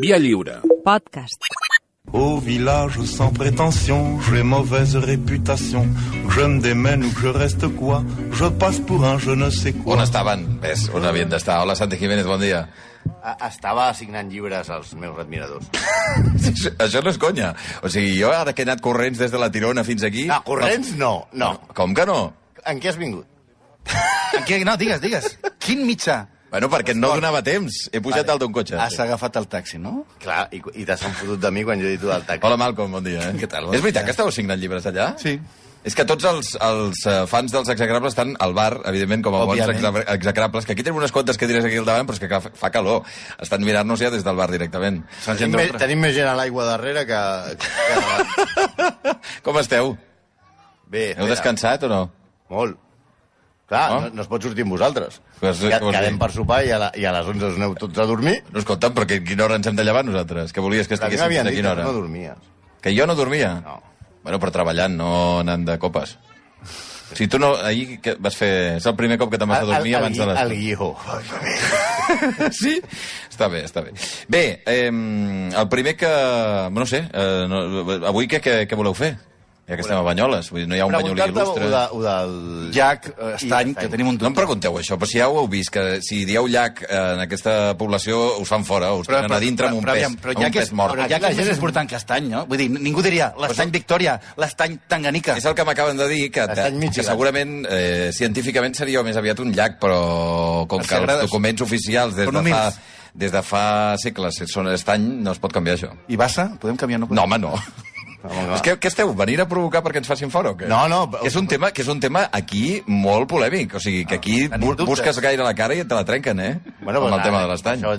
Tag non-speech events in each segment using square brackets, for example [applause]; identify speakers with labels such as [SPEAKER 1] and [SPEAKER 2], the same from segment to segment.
[SPEAKER 1] Via lliure.
[SPEAKER 2] Podcast.
[SPEAKER 3] Au village sans prétention, j'ai mauvaise réputation. Je me démène ou que je reste quoi Je passe pour un je ne sais quoi.
[SPEAKER 4] On estaven? Ves, on havien d'estar. Hola, Santi Jiménez, bon dia. [laughs]
[SPEAKER 5] A- Estava assignant llibres als meus admiradors.
[SPEAKER 4] Això no és conya. O sigui, jo ara que he anat corrents des de la Tirona fins aquí...
[SPEAKER 5] No, Ah, corrents no, Doncs no.
[SPEAKER 4] Com que no?
[SPEAKER 5] En què has vingut?
[SPEAKER 6] Què? No, digues, digues. Quin mitjà?
[SPEAKER 4] Bueno, perquè no donava temps. He pujat dalt d'un cotxe.
[SPEAKER 6] Has agafat el taxi, no?
[SPEAKER 5] Clar, i, i t'has enfotut de mi quan jo he dit del taxi.
[SPEAKER 4] Hola, Malcolm, bon dia. Eh?
[SPEAKER 6] Què tal?
[SPEAKER 4] És veritat que esteu signant llibres allà?
[SPEAKER 6] Sí.
[SPEAKER 4] És que tots els, els eh, fans dels execrables estan al bar, evidentment, com a bons
[SPEAKER 6] Òbviament.
[SPEAKER 4] execra- execrables, que aquí tenim unes quantes que diràs aquí al davant, però és que ca- fa calor. Estan mirant-nos ja des del bar directament.
[SPEAKER 5] Tenim, me, tenim més gent a l'aigua darrere que... que
[SPEAKER 4] [laughs]
[SPEAKER 5] davant.
[SPEAKER 4] Com esteu?
[SPEAKER 5] Bé,
[SPEAKER 4] Heu
[SPEAKER 5] espera.
[SPEAKER 4] descansat Ah. o no?
[SPEAKER 5] Molt. Clar,
[SPEAKER 4] No?
[SPEAKER 5] no, no es pot sortir amb vosaltres.
[SPEAKER 4] Pues,
[SPEAKER 5] Que,
[SPEAKER 4] com es diu?
[SPEAKER 5] quedem per sopar i a, la, i a les 11 us aneu tots a dormir.
[SPEAKER 4] No, escolta'm, però que- a quina hora ens hem de llevar nosaltres? Que volies que
[SPEAKER 5] A mi
[SPEAKER 4] estiguéssim fins
[SPEAKER 5] m'havien
[SPEAKER 4] a
[SPEAKER 5] dit
[SPEAKER 4] quina
[SPEAKER 5] que
[SPEAKER 4] hora?
[SPEAKER 5] no dormies.
[SPEAKER 4] Que jo no dormia?
[SPEAKER 5] No.
[SPEAKER 4] Bueno, però treballant, no anant de copes. Si tu no... Ahir que vas fer... És el primer cop que te'n vas a dormir abans de les...
[SPEAKER 5] El guió.
[SPEAKER 4] [laughs] sí? Està bé, està bé. Bé, eh, el primer que... No sé, eh, no, avui què, què, què voleu fer? Ja que estem a Banyoles, vull dir, no hi ha un banyolí
[SPEAKER 5] Preguntar-te
[SPEAKER 4] il·lustre.
[SPEAKER 5] o, de, o del...
[SPEAKER 6] Llac, eh, estany,
[SPEAKER 5] Estany.
[SPEAKER 6] que tenim un
[SPEAKER 4] No em
[SPEAKER 6] dubte.
[SPEAKER 4] pregunteu això, però si ja ho heu vist, que si dieu llac eh, en aquesta poblavisió us fan fora, us tenen a dintre amb un pes,
[SPEAKER 6] aviam, però
[SPEAKER 4] amb
[SPEAKER 6] ja
[SPEAKER 4] un
[SPEAKER 6] que
[SPEAKER 4] pes
[SPEAKER 6] és,
[SPEAKER 4] mort.
[SPEAKER 6] Però
[SPEAKER 5] Aquí
[SPEAKER 6] ja que
[SPEAKER 5] la
[SPEAKER 6] és
[SPEAKER 5] gent
[SPEAKER 6] més
[SPEAKER 5] és-
[SPEAKER 6] important que estany, no? Vull dir, ningú diria l'estany Victòria, l'estany Tanganica.
[SPEAKER 4] És el que m'acaben de dir, que,
[SPEAKER 5] Estany
[SPEAKER 4] que
[SPEAKER 5] Michigan.
[SPEAKER 4] segurament eh, científicament seria més aviat un llac, però com
[SPEAKER 6] Els
[SPEAKER 4] que els
[SPEAKER 6] sagrades-
[SPEAKER 4] documents oficials des de, fa,
[SPEAKER 6] Monuments.
[SPEAKER 4] des de fa segles són estany, no es pot canviar això.
[SPEAKER 6] I Bassa? Podem canviar? No,
[SPEAKER 4] No,
[SPEAKER 6] podem?
[SPEAKER 4] home, no. És que, què esteu? Venir a provocar perquè ens facin fora o què?
[SPEAKER 5] No, no,
[SPEAKER 4] Que és un tema, que és un tema aquí molt polèmic. O sigui, que aquí
[SPEAKER 6] Ah, tenim
[SPEAKER 4] bu
[SPEAKER 6] dubtes.
[SPEAKER 4] busques gaire la cara i et la trenquen, eh? amb el
[SPEAKER 5] doncs,
[SPEAKER 4] tema
[SPEAKER 5] ara,
[SPEAKER 4] de l'estany.
[SPEAKER 5] Això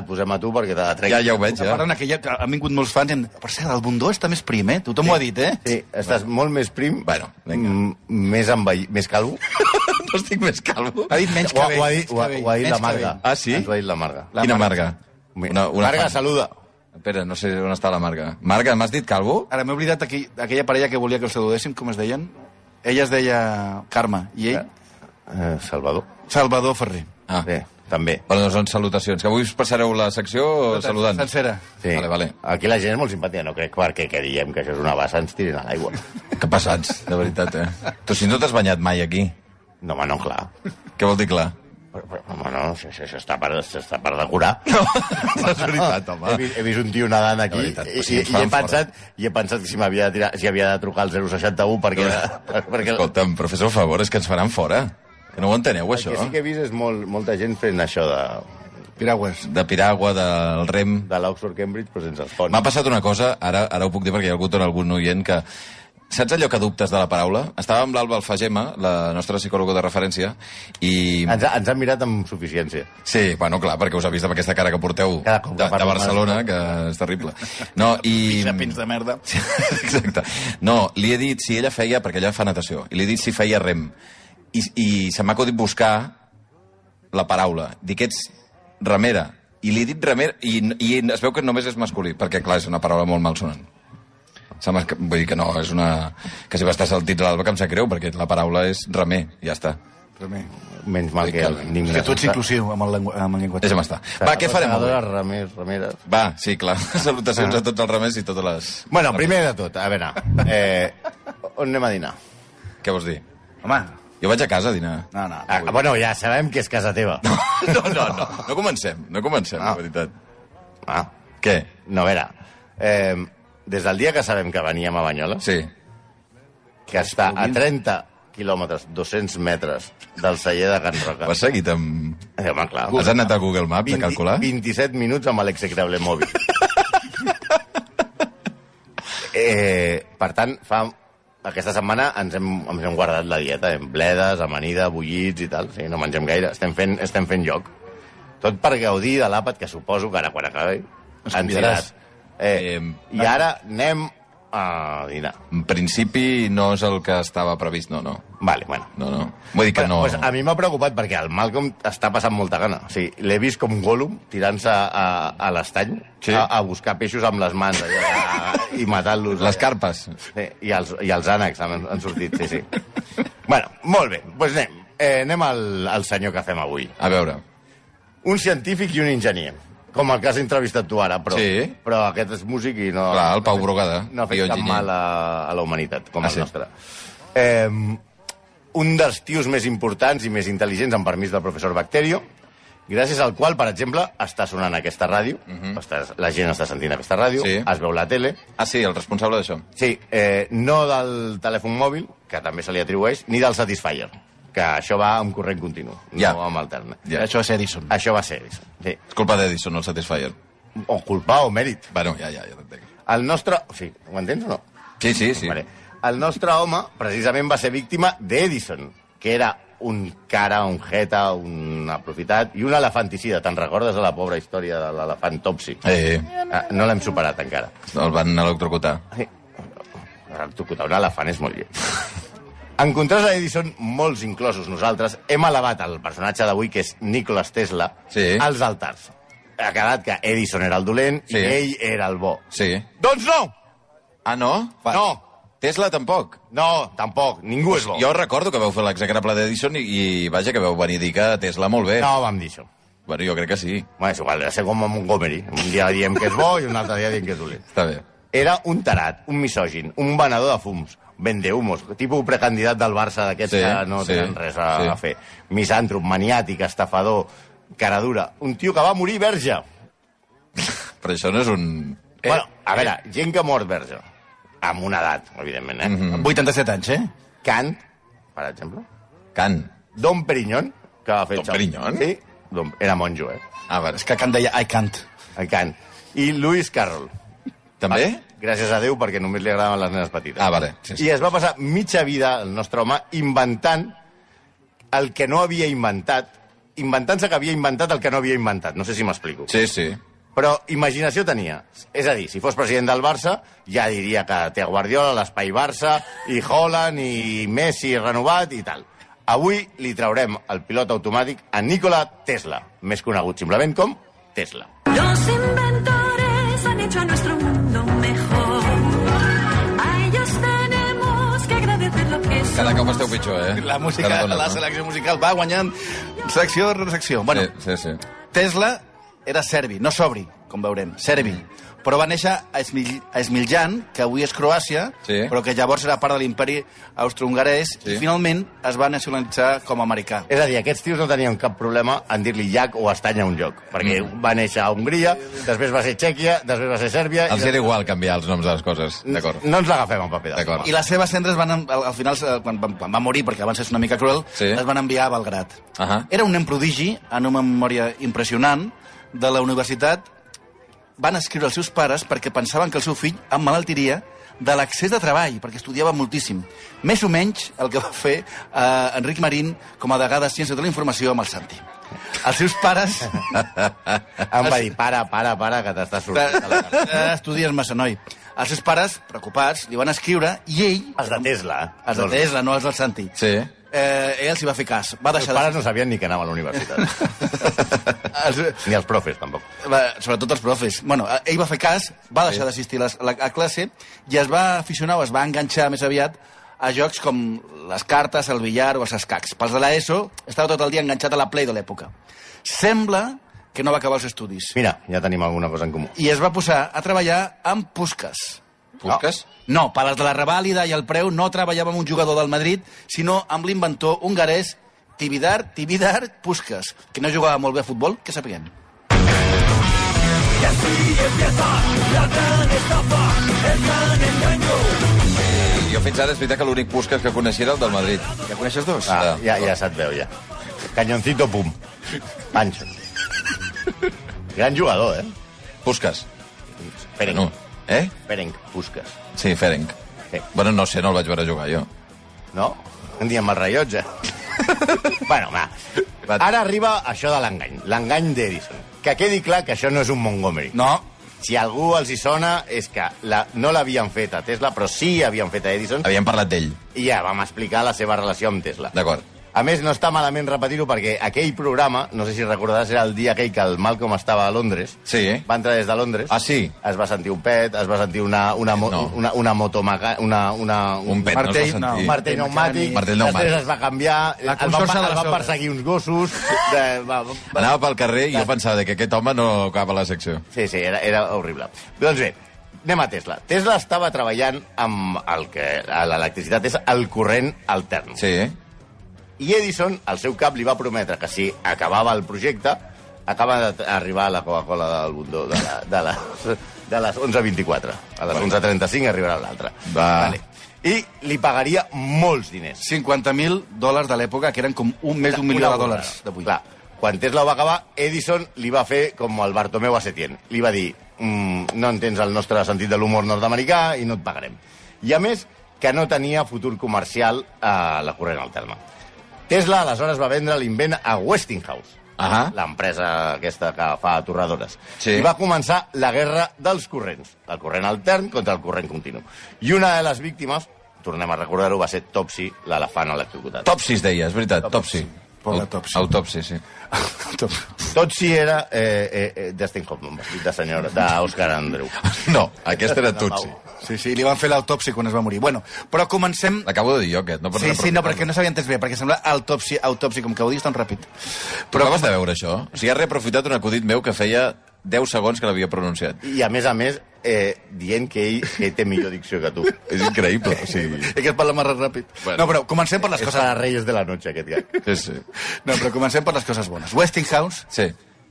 [SPEAKER 5] et posem a tu perquè te la trec.
[SPEAKER 4] Ja, ja ho veig,
[SPEAKER 6] Ja.
[SPEAKER 4] ja.
[SPEAKER 6] Parlant que ja han vingut molts fans i hem... Per cert, el bundó està més prim, eh? Tothom sí. ho ha dit, eh?
[SPEAKER 5] Sí, estàs molt més prim,
[SPEAKER 4] Bueno, vinga.
[SPEAKER 5] m- més envaí, més
[SPEAKER 4] [laughs]
[SPEAKER 5] calvo.
[SPEAKER 4] [laughs] No estic més calvo.
[SPEAKER 6] Ha dit menys
[SPEAKER 5] ho, ha-
[SPEAKER 6] cabell.
[SPEAKER 5] ho, ha dit,
[SPEAKER 6] menys
[SPEAKER 5] ho, ha-
[SPEAKER 6] cabell,
[SPEAKER 5] ho ha dit
[SPEAKER 6] menys
[SPEAKER 5] la Marga.
[SPEAKER 6] cabell.
[SPEAKER 4] Ah, sí?
[SPEAKER 5] Ens ho ha dit la Marga.
[SPEAKER 6] La
[SPEAKER 4] Quina
[SPEAKER 6] Marga.
[SPEAKER 4] marga?
[SPEAKER 5] Marga,
[SPEAKER 4] fan.
[SPEAKER 5] saluda.
[SPEAKER 4] Espera, no sé on està la marga. Marga, m'has dit calvo?
[SPEAKER 6] Ara m'he oblidat aquell, aquella parella que volia que els saludéssim, com es deien? Ella es deia Carme i ell
[SPEAKER 5] Eh, Salvador.
[SPEAKER 6] Salvador Ferrer.
[SPEAKER 4] Ah.
[SPEAKER 5] Sí, també.
[SPEAKER 4] Bueno, doncs són salutacions. Que avui us passareu la secció saludant.
[SPEAKER 6] Sencera.
[SPEAKER 5] Sí.
[SPEAKER 4] Vale, vale.
[SPEAKER 5] Aquí la gent és molt simpàtica, no crec perquè que diem que això és una bassa, ens tirin a l'aigua.
[SPEAKER 4] Que passats, de veritat, eh? Tu si no t'has banyat mai aquí,
[SPEAKER 5] No, home, no, clar.
[SPEAKER 4] què vol dir clar?
[SPEAKER 5] Però, però, home, no, això, això, això està per, això està per decorar. Ah,
[SPEAKER 4] No, és [laughs] veritat,
[SPEAKER 5] He,
[SPEAKER 4] home.
[SPEAKER 5] vist, he vist un tio nedant aquí
[SPEAKER 4] De veritat,
[SPEAKER 5] i,
[SPEAKER 4] si
[SPEAKER 5] i,
[SPEAKER 4] ens
[SPEAKER 5] i, he
[SPEAKER 4] fan fora.
[SPEAKER 5] pensat, i he pensat que si m'havia de, tirar, si havia de trucar al 061 perquè... per- [laughs] perquè
[SPEAKER 4] Escolta'm, però fes el favor, és que ens faran fora. Que no ho enteneu,
[SPEAKER 5] el
[SPEAKER 4] això.
[SPEAKER 5] que sí que he vist és molt, molta gent fent això de,
[SPEAKER 6] Piragües.
[SPEAKER 4] De piragua, del rem...
[SPEAKER 5] de l'Oxford-Cambridge, però sense els ponts.
[SPEAKER 4] M'ha passat una cosa, ara, ara ho puc dir perquè hi ha hagut algun oient que... Saps allò que dubtes de la paraula? Estava amb l'Alba Alfagema, la nostra psicòloga de referència, i...
[SPEAKER 5] Ens, ha- ens han mirat amb suficiència.
[SPEAKER 4] Sí, bueno, clar, perquè us ha vist amb aquesta cara que porteu de,
[SPEAKER 5] Cada cop que
[SPEAKER 4] de
[SPEAKER 5] parlo
[SPEAKER 4] Barcelona,
[SPEAKER 5] més.
[SPEAKER 4] que és terrible. No,
[SPEAKER 6] [laughs]
[SPEAKER 4] i...
[SPEAKER 6] Pins de merda.
[SPEAKER 4] Sí, [laughs] Exacte. No, li he dit si ella feia, perquè ella fa natació, i li he dit si feia rem. I, i se m'ha acudit buscar la paraula. Dic, ets remera. I li he dit remera, i, i es veu que només és masculí, perquè, clar, és una paraula molt malsonant. Se m'ha- Vull dir que no, és una... Que si va estar saltit l'alba que em sap greu, perquè la paraula és remer, ja està.
[SPEAKER 6] Primer.
[SPEAKER 5] Menys mal que el
[SPEAKER 6] És
[SPEAKER 5] Ningnes.
[SPEAKER 6] que tu ets inclusiu amb el, lengua- amb el llenguatge.
[SPEAKER 4] Deixa'm estar. Va, què farem avui?
[SPEAKER 5] Remeres, remeres, remeres.
[SPEAKER 4] Va, sí, clar. [laughs] Salutacions a tots els remers i totes les...
[SPEAKER 5] Bueno, primer de tot, a [laughs] veure, eh, on anem a dinar?
[SPEAKER 4] Què vols dir?
[SPEAKER 6] Home,
[SPEAKER 4] Jo vaig a casa a dinar.
[SPEAKER 6] no, no.
[SPEAKER 5] Ah, bueno, ja sabem que és casa teva.
[SPEAKER 4] [laughs] No, no, no. No comencem, no comencem, ah. la veritat.
[SPEAKER 5] Ah,
[SPEAKER 4] Què?
[SPEAKER 5] no, a veure, eh, des del dia que sabem que veníem a Banyoles,
[SPEAKER 4] Sí.
[SPEAKER 5] que està a 30 quilòmetres, 200 metres del celler de Can Roca.
[SPEAKER 4] Ho has seguit amb...
[SPEAKER 5] Eh, home, clar.
[SPEAKER 4] Has anat a Google Maps a calcular?
[SPEAKER 5] 27 minuts amb l'execrable mòbil. [laughs] eh, per tant, fa aquesta setmana ens hem, ens hem guardat la dieta, en bledes, amanida, bullits i tal. Sí, no mengem gaire, estem fent, estem fent lloc. Tot per gaudir de l'àpat que suposo que ara quan acabi ens
[SPEAKER 4] convidaràs.
[SPEAKER 5] diràs. Eh,
[SPEAKER 4] Em,
[SPEAKER 5] I ara anem a dinar.
[SPEAKER 4] En principi no és el que estava previst, no, no.
[SPEAKER 5] Vale, bueno.
[SPEAKER 4] No, no. Vull dir que no...
[SPEAKER 5] Pues a mi m'ha preocupat perquè el Malcolm està passant molta gana. O sigui, l'he vist com Gollum tirant-se a, a, a l'estany
[SPEAKER 4] Sí.
[SPEAKER 5] a, a, buscar peixos amb les mans allà, a, i matant-los.
[SPEAKER 4] Les
[SPEAKER 5] allà.
[SPEAKER 4] carpes.
[SPEAKER 5] Sí, i, els, I els ànecs han, han sortit, sí, sí. bueno, molt bé, doncs anem. Eh, anem al, al senyor que fem avui.
[SPEAKER 4] A veure,
[SPEAKER 5] Un científic i un enginyer. Com el que has entrevistat tu ara, però,
[SPEAKER 4] Sí.
[SPEAKER 5] però aquest és músic i no...
[SPEAKER 4] Clar, el Pau
[SPEAKER 5] no ha fet-
[SPEAKER 4] Brugada,
[SPEAKER 5] No ha fet
[SPEAKER 4] i
[SPEAKER 5] cap
[SPEAKER 4] enginyer.
[SPEAKER 5] mal a, a la humanitat, com
[SPEAKER 4] Ah,
[SPEAKER 5] ah, el
[SPEAKER 4] sí?
[SPEAKER 5] sí? nostre. Eh, un dels tios més importants i més intel·ligents, amb permís del professor Bacterio, gràcies al qual, per exemple, està sonant aquesta ràdio, està, la gent està sentint aquesta ràdio,
[SPEAKER 4] Mhm. Sí.
[SPEAKER 5] es veu la tele,
[SPEAKER 4] Ah, sí, el responsable d'això.
[SPEAKER 5] Sí, eh, no del telèfon mòbil, que també se li atribueix, ni del Satisfyer, que això va amb corrent continu,
[SPEAKER 4] Ja.
[SPEAKER 5] no amb alterne.
[SPEAKER 4] Ja.
[SPEAKER 6] Això és Edison.
[SPEAKER 5] Això va ser, sí.
[SPEAKER 4] És culpa d'Edison, el Satisfyer.
[SPEAKER 5] O culpa o mèrit.
[SPEAKER 4] Bueno, ja, ja, ja t'entenc.
[SPEAKER 5] El nostre... O sigui, ho entens o no?
[SPEAKER 4] Sí, sí, sí.
[SPEAKER 5] Vale. El nostre home, precisament, va ser víctima d'Edison, que era un cara, un jeta, un aprofitat i un elefanticida. Te'n recordes de la pobra història de l'elefant Topsy?
[SPEAKER 4] Eh, eh,
[SPEAKER 5] Ah, no l'hem superat encara.
[SPEAKER 4] el van electrocutar.
[SPEAKER 5] Sí. Electrocutar un elefant és molt lleig. [laughs] En contrast a Edison, molts inclosos nosaltres, hem elevat el personatge d'avui, que és Nicolas Tesla,
[SPEAKER 4] Sí.
[SPEAKER 5] als altars. Ha quedat que Edison era el dolent
[SPEAKER 4] Sí.
[SPEAKER 5] i ell era el bo.
[SPEAKER 4] Sí.
[SPEAKER 5] Doncs no!
[SPEAKER 4] Ah, no?
[SPEAKER 5] Fa-
[SPEAKER 4] No! Tesla tampoc.
[SPEAKER 5] No, tampoc. Ningú és bo.
[SPEAKER 4] Jo recordo que vau fer l'execrable d'Edison i, i, vaja, que vau venir a dir que Tesla molt bé.
[SPEAKER 5] No vam dir això.
[SPEAKER 4] Bueno, jo crec que sí.
[SPEAKER 5] Bueno, és igual, va ser com a Montgomery. Un dia diem que és bo i un altre dia diem que és dolent.
[SPEAKER 4] Està bé.
[SPEAKER 5] Era un tarat, un misògin, un venedor de fums, vendehumos, tipus precandidat del Barça d'aquests
[SPEAKER 4] Sí,
[SPEAKER 5] sí, que no
[SPEAKER 4] sí,
[SPEAKER 5] sí, tenen res a,
[SPEAKER 4] sí.
[SPEAKER 5] sí. a fer. Misàntrop, maniàtic, estafador, cara dura. Un tio que va morir verge.
[SPEAKER 4] Però això no és un...
[SPEAKER 5] Eh, bueno, a veure, gent que ha mort verge. Amb una edat, evidentment,
[SPEAKER 4] Mhm.
[SPEAKER 5] eh? Mm
[SPEAKER 6] 87 anys, eh?
[SPEAKER 5] -hmm. Kant, per exemple.
[SPEAKER 4] Cant.
[SPEAKER 5] Don Perignon, que va fer...
[SPEAKER 4] Don
[SPEAKER 5] xau-
[SPEAKER 4] Perignon?
[SPEAKER 5] Sí, Don, era monjo, eh?
[SPEAKER 4] Ah, bueno.
[SPEAKER 6] És que Kant deia I can't.
[SPEAKER 5] El Kant. I Lewis Carroll.
[SPEAKER 4] També?
[SPEAKER 5] Gràcies a Déu, perquè només li agraden les nenes petites.
[SPEAKER 4] Ah, vale. Sí, sí.
[SPEAKER 5] I es va passar mitja vida, el nostre home, inventant el que no havia inventat, inventant-se que havia inventat el que no havia inventat. No sé si m'explico.
[SPEAKER 4] Sí, sí.
[SPEAKER 5] Però imaginació tenia. És a dir, si fos president del Barça, ja diria que té Guardiola, l'espai Barça, i Holland, i Messi renovat, i tal. Avui li traurem el pilot automàtic a Nikola Tesla, més conegut simplement com Tesla.
[SPEAKER 1] Los inventores han hecho a nuestro mundo mejor. A ellos tenemos que agradecer lo que son.
[SPEAKER 4] Cada cop esteu pitjor, eh?
[SPEAKER 6] La música,
[SPEAKER 4] Cada dona,
[SPEAKER 6] la
[SPEAKER 4] no?
[SPEAKER 6] selecció musical va guanyant secció rere secció. Bueno,
[SPEAKER 4] Sí, sí, sí.
[SPEAKER 6] Tesla era serbi, no sobri, com veurem, serbi. Però va néixer a, Smil a Smiljan, que avui és Croàcia,
[SPEAKER 4] Sí.
[SPEAKER 6] però que llavors era part de l'imperi austrohongarès,
[SPEAKER 4] Sí.
[SPEAKER 6] i finalment es va nacionalitzar com a americà.
[SPEAKER 5] És a dir, aquests tios no tenien cap problema en dir-li llac o estany a un lloc, perquè va néixer a Hongria, després va ser Txèquia, després va ser Sèrbia...
[SPEAKER 4] Els era igual canviar els noms de les coses. D'acord.
[SPEAKER 5] No ens l'agafem en paper de
[SPEAKER 4] D'acord.
[SPEAKER 6] I les seves cendres van, en- al, al final, eh, quan, quan, quan va morir, perquè abans és una mica cruel,
[SPEAKER 4] Sí.
[SPEAKER 6] les van enviar a Belgrat.
[SPEAKER 4] Ahà.
[SPEAKER 6] Era un nen prodigi, en una memòria impressionant, de la universitat. Van escriure els seus pares perquè pensaven que el seu fill emmalaltiria de l'accés de treball, perquè estudiava moltíssim. Més o menys el que va fer eh, Enric Marín com a degà de Ciència de la Informació amb el Santi. Els seus pares
[SPEAKER 4] [laughs]
[SPEAKER 5] Em va dir, para, para, para, que t'està sortint de la cara.
[SPEAKER 6] eh, estudies massa, noi. Els seus pares, preocupats, li van escriure i ell...
[SPEAKER 5] Els de Tesla, eh?
[SPEAKER 6] Els de Tesla, no els del Santi.
[SPEAKER 4] Doncs Sí.
[SPEAKER 6] Eh, ell els hi va fer cas. Doncs Va
[SPEAKER 5] Els
[SPEAKER 6] deixar [laughs]
[SPEAKER 5] pares no sabien ni que anava a la universitat.
[SPEAKER 6] de...
[SPEAKER 5] ni els profes, tampoc.
[SPEAKER 6] Va, sobretot els profes. Bueno, eh, ell va fer cas, va deixar d'assistir a, les- la- a classe i es va aficionar o es va enganxar més aviat a jocs com les cartes, el billar o els escacs. Pels de l'ESO estava tot el dia enganxat a la Play de l'època. Sembla que no va acabar els estudis.
[SPEAKER 5] Mira, ja tenim alguna cosa en comú.
[SPEAKER 6] I es va posar a treballar amb pusques.
[SPEAKER 4] Busques?
[SPEAKER 6] No, per als de la revàlida i el preu no treballava amb un jugador del Madrid, sinó amb l'inventor hongarès Tibidar, Tibidar Puskas, que no jugava molt bé a futbol, que sapiguem.
[SPEAKER 4] Jo fins ara és veritat que l'únic Busques que coneixia era el del Madrid.
[SPEAKER 6] Ja coneixes dos?
[SPEAKER 5] Ah, ja, ja se't veu, ja. Canyoncito, pum. Pancho. Gran jugador, eh?
[SPEAKER 4] Busques.
[SPEAKER 5] Ferenc.
[SPEAKER 4] No. Eh?
[SPEAKER 5] Ferenc, busques.
[SPEAKER 4] Sí, Ferenc.
[SPEAKER 5] Sí.
[SPEAKER 4] Bueno, no sé, no el vaig veure jugar jo.
[SPEAKER 5] No? Un dia amb el rellotge. bueno, va.
[SPEAKER 4] Va.
[SPEAKER 5] Ara arriba això de l'engany, l'engany d'Edison. Que quedi clar que això no és un Montgomery.
[SPEAKER 6] No,
[SPEAKER 5] Si a algú els hi sona és que la, no l'havien fet a Tesla, però sí havien fet a Edison,
[SPEAKER 4] Havíem parlat d'ell.
[SPEAKER 5] i ja vam explicar la seva relació amb Tesla.
[SPEAKER 4] D'acord.
[SPEAKER 5] A més, no està malament repetir-ho perquè aquell programa, no sé si recordaràs, era el dia aquell que el Malcolm estava a Londres.
[SPEAKER 4] Sí, eh?
[SPEAKER 5] Va entrar des de Londres.
[SPEAKER 4] Ah, sí?
[SPEAKER 5] Es va sentir un pet, es va sentir una, una, mo
[SPEAKER 4] No.
[SPEAKER 5] una, una motomaga... Una, una,
[SPEAKER 4] Un pet, no es va
[SPEAKER 6] Martell,
[SPEAKER 4] sentir.
[SPEAKER 5] Un
[SPEAKER 6] no.
[SPEAKER 5] martell pneumàtic,
[SPEAKER 4] Martell pneumàtic.
[SPEAKER 5] després es va canviar,
[SPEAKER 2] La
[SPEAKER 5] el van,
[SPEAKER 2] consorça de
[SPEAKER 5] el
[SPEAKER 2] les
[SPEAKER 5] van
[SPEAKER 2] obres.
[SPEAKER 5] perseguir uns gossos... De, va, va,
[SPEAKER 4] Anava pel carrer i jo pensava que aquest home no acaba la secció.
[SPEAKER 5] Sí, sí, era, era horrible. Doncs bé, anem a Tesla. Tesla estava treballant amb el que a l'electricitat és el corrent altern.
[SPEAKER 4] Sí, eh?
[SPEAKER 5] I Edison, al seu cap, li va prometre que si acabava el projecte, acaba d'arribar la Coca-Cola del bundó de, la, de, les, de les 11.24. A les 11.35 arribarà l'altre.
[SPEAKER 4] Va.
[SPEAKER 5] I li pagaria molts diners.
[SPEAKER 6] 50.000 dòlars de l'època, que eren com un, més d'un
[SPEAKER 5] Una
[SPEAKER 6] milió de
[SPEAKER 5] bona.
[SPEAKER 6] dòlars d'avui.
[SPEAKER 5] Clar, quan Tesla ho va acabar, Edison li va fer com el Bartomeu a Setien. Li va dir, mm, no entens el nostre sentit de l'humor nord-americà i no et pagarem. I a més, que no tenia futur comercial a la corrent alterna. Tesla aleshores va vendre l'invent a Westinghouse,
[SPEAKER 4] Ahà.
[SPEAKER 5] l'empresa aquesta que fa torradores.
[SPEAKER 4] Sí.
[SPEAKER 5] I va començar la guerra dels corrents, el corrent altern contra el corrent continu. I una de les víctimes, tornem a recordar-ho, va ser Topsy, l'elefant electrocutat.
[SPEAKER 4] Topsi es deia, és veritat, Topsi.
[SPEAKER 6] Pobre Topsy.
[SPEAKER 4] Autopsi, sí. [laughs]
[SPEAKER 5] Tot si era eh, eh, eh, Dustin Hoffman, vestit de senyora, d'Òscar Andreu.
[SPEAKER 4] No, aquesta era Tutsi.
[SPEAKER 6] Sí, sí, li van fer l'autòpsia quan es va morir. Bueno, però comencem...
[SPEAKER 4] L'acabo de dir jo, aquest. No per
[SPEAKER 6] Sí, sí, no,
[SPEAKER 4] reproduir-me.
[SPEAKER 6] perquè no s'havia entès bé, perquè sembla autòpsia, autòpsia, com que ho dius tan ràpid.
[SPEAKER 4] Però acabes de veure això? O sigui, ha reaprofitat un acudit meu que feia 10 segons que l'havia pronunciat.
[SPEAKER 5] I a més a més, eh, dient que ell, que ell té millor dicció que tu.
[SPEAKER 4] És increïble, o sigui...
[SPEAKER 6] És que es parla més ràpid.
[SPEAKER 4] Bueno.
[SPEAKER 6] No, però comencem per les
[SPEAKER 5] És
[SPEAKER 6] coses...
[SPEAKER 5] per a Reyes de la Noche, aquest gai.
[SPEAKER 4] Sí, sí.
[SPEAKER 6] No, però comencem per les coses bones. Westinghouse,
[SPEAKER 4] Sí.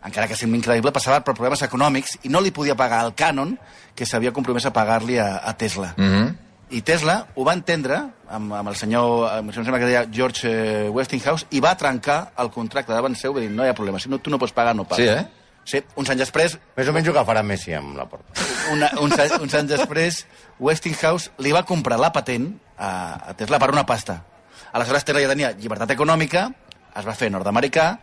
[SPEAKER 6] encara que sembla increïble, passava per problemes econòmics i no li podia pagar el cànon que s'havia compromès a pagar-li a, a Tesla.
[SPEAKER 4] Mm
[SPEAKER 6] I Tesla ho va entendre amb, amb el senyor, amb, em sembla que deia George eh, Westinghouse, i va trencar el contracte davant seu, va dir, no hi ha problema, si no, tu no pots pagar, no pagues.
[SPEAKER 4] Sí, eh?
[SPEAKER 6] Sí, uns anys després,
[SPEAKER 5] Més o menys el que farà Messi amb la porta.
[SPEAKER 6] una, uns, anys, uns anys després, Westinghouse li va comprar la patent a, a Tesla per una pasta. Aleshores, Tesla ja tenia llibertat econòmica, es va fer nord-americà,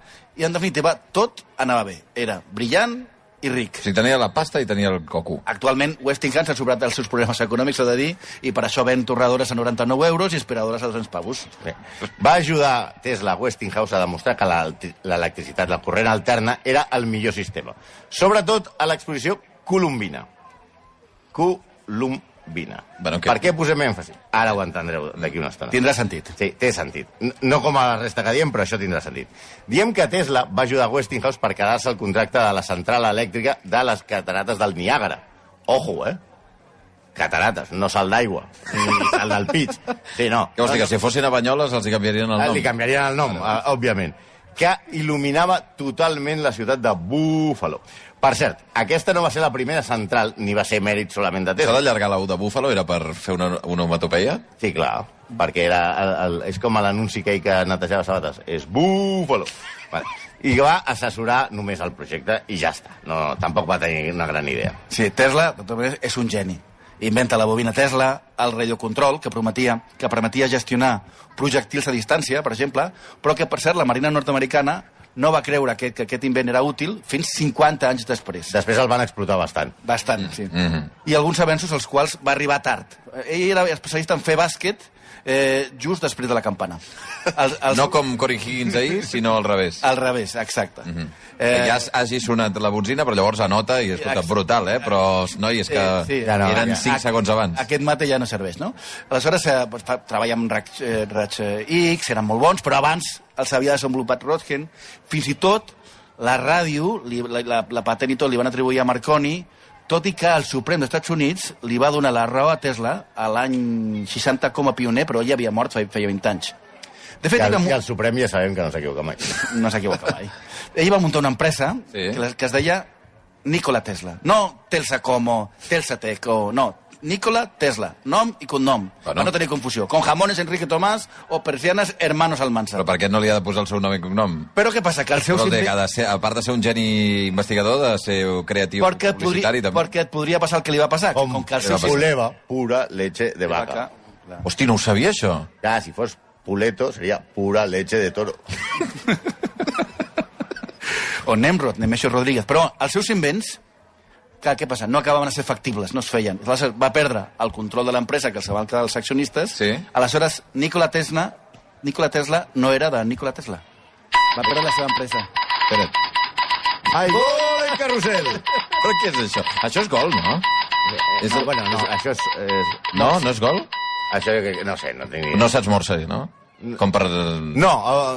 [SPEAKER 6] i en definitiva tot anava bé. Era brillant i ric.
[SPEAKER 4] O sigui, tenia la pasta i tenia el coco.
[SPEAKER 6] Actualment, Westinghouse ha sobrat els seus problemes econòmics, s'ha de dir, i per això ven torradores a 99 euros i aspiradores a 200 pavos.
[SPEAKER 5] Bé. Va ajudar Tesla a Westinghouse a demostrar que l'alt- l'electricitat, la corrent alterna, era el millor sistema. Sobretot a l'exposició Colombina. Colombina.
[SPEAKER 4] Bueno, que-
[SPEAKER 5] Per què posem èmfasi? Ara ho entendreu d'aquí una estona.
[SPEAKER 6] Tindrà sentit.
[SPEAKER 5] Sí, té sentit. N- No com a la resta que diem, però això tindrà sentit. Diem que Tesla va ajudar Westinghouse per quedar-se el contracte de la central elèctrica de les catarates del Niàgara. Ojo, eh? Catarates, no sal d'aigua, ni sal del pit. Sí, no.
[SPEAKER 4] Què vols dir, que si fossin a Banyoles els hi canviarien el
[SPEAKER 5] Ah,
[SPEAKER 4] nom?
[SPEAKER 5] Li canviarien el nom, ah, òbviament. Que il·luminava totalment la ciutat de Buffalo. Per cert, aquesta no va ser la primera central, ni va ser mèrit solament de
[SPEAKER 4] Això
[SPEAKER 5] Tesla.
[SPEAKER 4] d'allargar la U de Búfalo era per fer una, una homatopeia?
[SPEAKER 5] Sí, clar, perquè era el, el, és com a l'anunci que ell que netejava sabates. És búfalo. Vale. I que va assessorar només el projecte i ja està. No, no, tampoc va tenir una gran idea.
[SPEAKER 6] Sí, Tesla, de totes maneres, és un geni. Inventa la bobina Tesla, el radiocontrol, que prometia que permetia gestionar projectils a distància, per exemple, però que, per cert, la Marina nord-americana no va creure que, que aquest invent era útil fins 50 anys després.
[SPEAKER 5] Després el van explotar bastant.
[SPEAKER 6] Bastant, sí.
[SPEAKER 4] Mm-hmm.
[SPEAKER 6] I alguns avenços als quals va arribar tard. Ell era especialista en fer bàsquet eh, just després de la campana. Els, els,
[SPEAKER 4] No com Corey Higgins ahir,
[SPEAKER 6] [laughs]
[SPEAKER 4] sinó al revés.
[SPEAKER 6] Al revés, exacte.
[SPEAKER 4] Eh... Que ja has- hagi sonat la bonzina, però llavors anota i, escolta,
[SPEAKER 6] Ex-
[SPEAKER 4] brutal, eh? Però, noi, és que
[SPEAKER 6] Sí, sí.
[SPEAKER 5] Ja no,
[SPEAKER 4] eren
[SPEAKER 5] ja.
[SPEAKER 4] 5 segons abans.
[SPEAKER 6] Aquest mate ja no serveix, no? Aleshores, eh, pues, fa, treballa amb raig, eh, raig eh, X, eren molt bons, però abans els havia desenvolupat Röntgen. Fins i tot la ràdio, li, la, la, la patent i tot, li van atribuir a Marconi, tot i que el Suprem dels Estats Units li va donar la raó a Tesla a l'any 60 com a pioner, però ell havia mort fe- feia 20 anys. De
[SPEAKER 5] I
[SPEAKER 6] fet,
[SPEAKER 5] el,
[SPEAKER 6] ell va mu-
[SPEAKER 5] i el Suprem ja sabem que no s'equivoca mai.
[SPEAKER 6] no s'equivoca mai. Ell va muntar una empresa
[SPEAKER 4] Sí.
[SPEAKER 6] sí. que, la- que es deia Nikola Tesla. No Telsa Como, Telsa Teco, no. Nikola Tesla, nom i cognom.
[SPEAKER 4] Bueno.
[SPEAKER 6] Bueno. Per no tenir confusió. Con jamones Enrique Tomás o persianes hermanos Almansa.
[SPEAKER 4] Però
[SPEAKER 6] Però,
[SPEAKER 4] per què no li ha de posar el seu nom i cognom?
[SPEAKER 6] però què passa? Que el seu
[SPEAKER 4] Però té,
[SPEAKER 6] inven-
[SPEAKER 4] que ha de ser, a part de ser un geni investigador, de ser creatiu
[SPEAKER 6] perquè, et
[SPEAKER 4] publicitari,
[SPEAKER 6] podri...
[SPEAKER 4] també.
[SPEAKER 6] perquè et podria passar el que li va passar. Com, com que el
[SPEAKER 4] Li
[SPEAKER 6] seu
[SPEAKER 4] va passar?
[SPEAKER 6] xip-
[SPEAKER 5] Puleva, pura leche de vaca.
[SPEAKER 6] Clar.
[SPEAKER 4] Hosti, no ho sabia, això.
[SPEAKER 5] Ja, si fos puleto, seria pura leche de toro.
[SPEAKER 6] o Nemrod, Nemesio Rodríguez. Però els seus invents, clar, què passa? No acabaven de ser factibles, no es feien. Aleshores va perdre el control de l'empresa que els van quedar els accionistes.
[SPEAKER 4] Sí.
[SPEAKER 6] Aleshores, Nikola Tesla Nikola Tesla no era de Nikola Tesla. Va perdre la seva empresa.
[SPEAKER 4] Espera't.
[SPEAKER 5] Ai,
[SPEAKER 4] Gol en carrusel! Però què és això? Això és gol, no?
[SPEAKER 5] és,
[SPEAKER 4] és-
[SPEAKER 5] [laughs] bueno, no, això és... és
[SPEAKER 4] No, no és gol?
[SPEAKER 5] Això jo crec que- no sé, no tinc ni idea.
[SPEAKER 4] No saps morse, no? Com per... eh,
[SPEAKER 5] No,